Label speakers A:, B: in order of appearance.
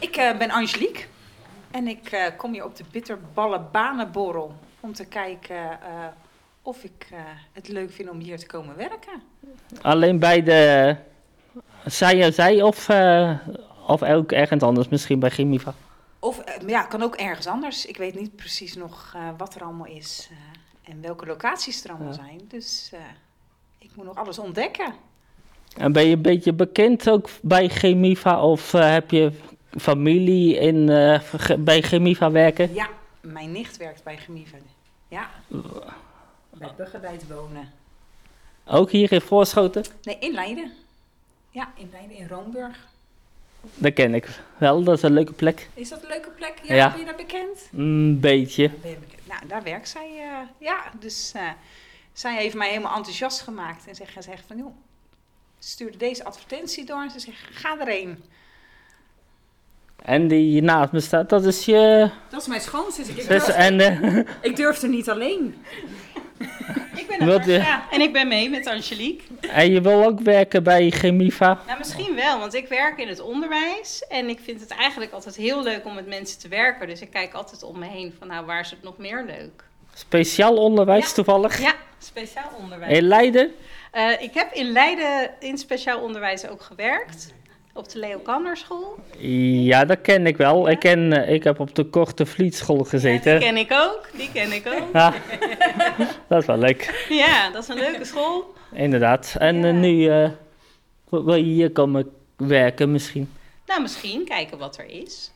A: Ik eh, ben Angelique en ik eh, kom hier op de Bitterballen Banenborrel om te kijken eh, of ik eh, het leuk vind om hier te komen werken.
B: Alleen bij de CSI of, eh, of ook ergens anders, misschien bij Chimiva.
A: Of eh, ja, kan ook ergens anders. Ik weet niet precies nog eh, wat er allemaal is eh, en welke locaties er allemaal
B: Ja.
A: zijn. Dus eh, ik moet nog alles ontdekken.
B: En ben je een beetje bekend ook bij Chimiva of eh, heb je familie in, eh, ge- bij Chimiva werken?
A: Ja, mijn nicht werkt bij Gemieven. Ja. Bij Buggenbijt wonen.
B: Ook hier in Voorschoten?
A: Nee, in Leiden. Ja, in Leiden, in Roomburg.
B: Dat ken ik wel, dat is een leuke plek.
A: Is dat een leuke plek? Ja,
B: Ja.
A: ben je daar bekend?
B: Een beetje.
A: Ben je bekend? Nou, daar werkt zij. eh, ja, dus eh, zij heeft mij helemaal enthousiast gemaakt. En ze ze zegt van, joh, stuurde deze advertentie door. En ze zegt, ga erheen.
B: En die hier naast me staat, dat is je
A: Dat is mijn schoonzus. Ik,
B: zus en... eh,
A: ik durfde niet alleen.
C: Ik ben
B: Wat, eh?
C: Natasja en ik ben mee met Angelique.
B: En je wil ook werken bij Chemiva?
C: Nou, misschien wel, want ik werk in het onderwijs en ik vind het eigenlijk altijd heel leuk om met mensen te werken. Dus ik kijk altijd om me heen van, nou, waar is het nog meer leuk?
B: Speciaal onderwijs
C: Ja.
B: toevallig.
C: Ja, speciaal onderwijs.
B: In Leiden?
C: Eh, ik heb in Leiden in speciaal onderwijs ook gewerkt, op de Leo Kanderschool.
B: Ja, dat ken ik wel. Ik, ken, eh, ik heb op de Korte Vlietschool gezeten.
C: Die ken ik ook, die ken ik ook.
B: Ja, dat is wel leuk,
C: Ja, dat is een leuke school.
B: inderdaad. En eh, nu eh, wil je hier komen werken misschien?
C: Nou, misschien kijken wat er is.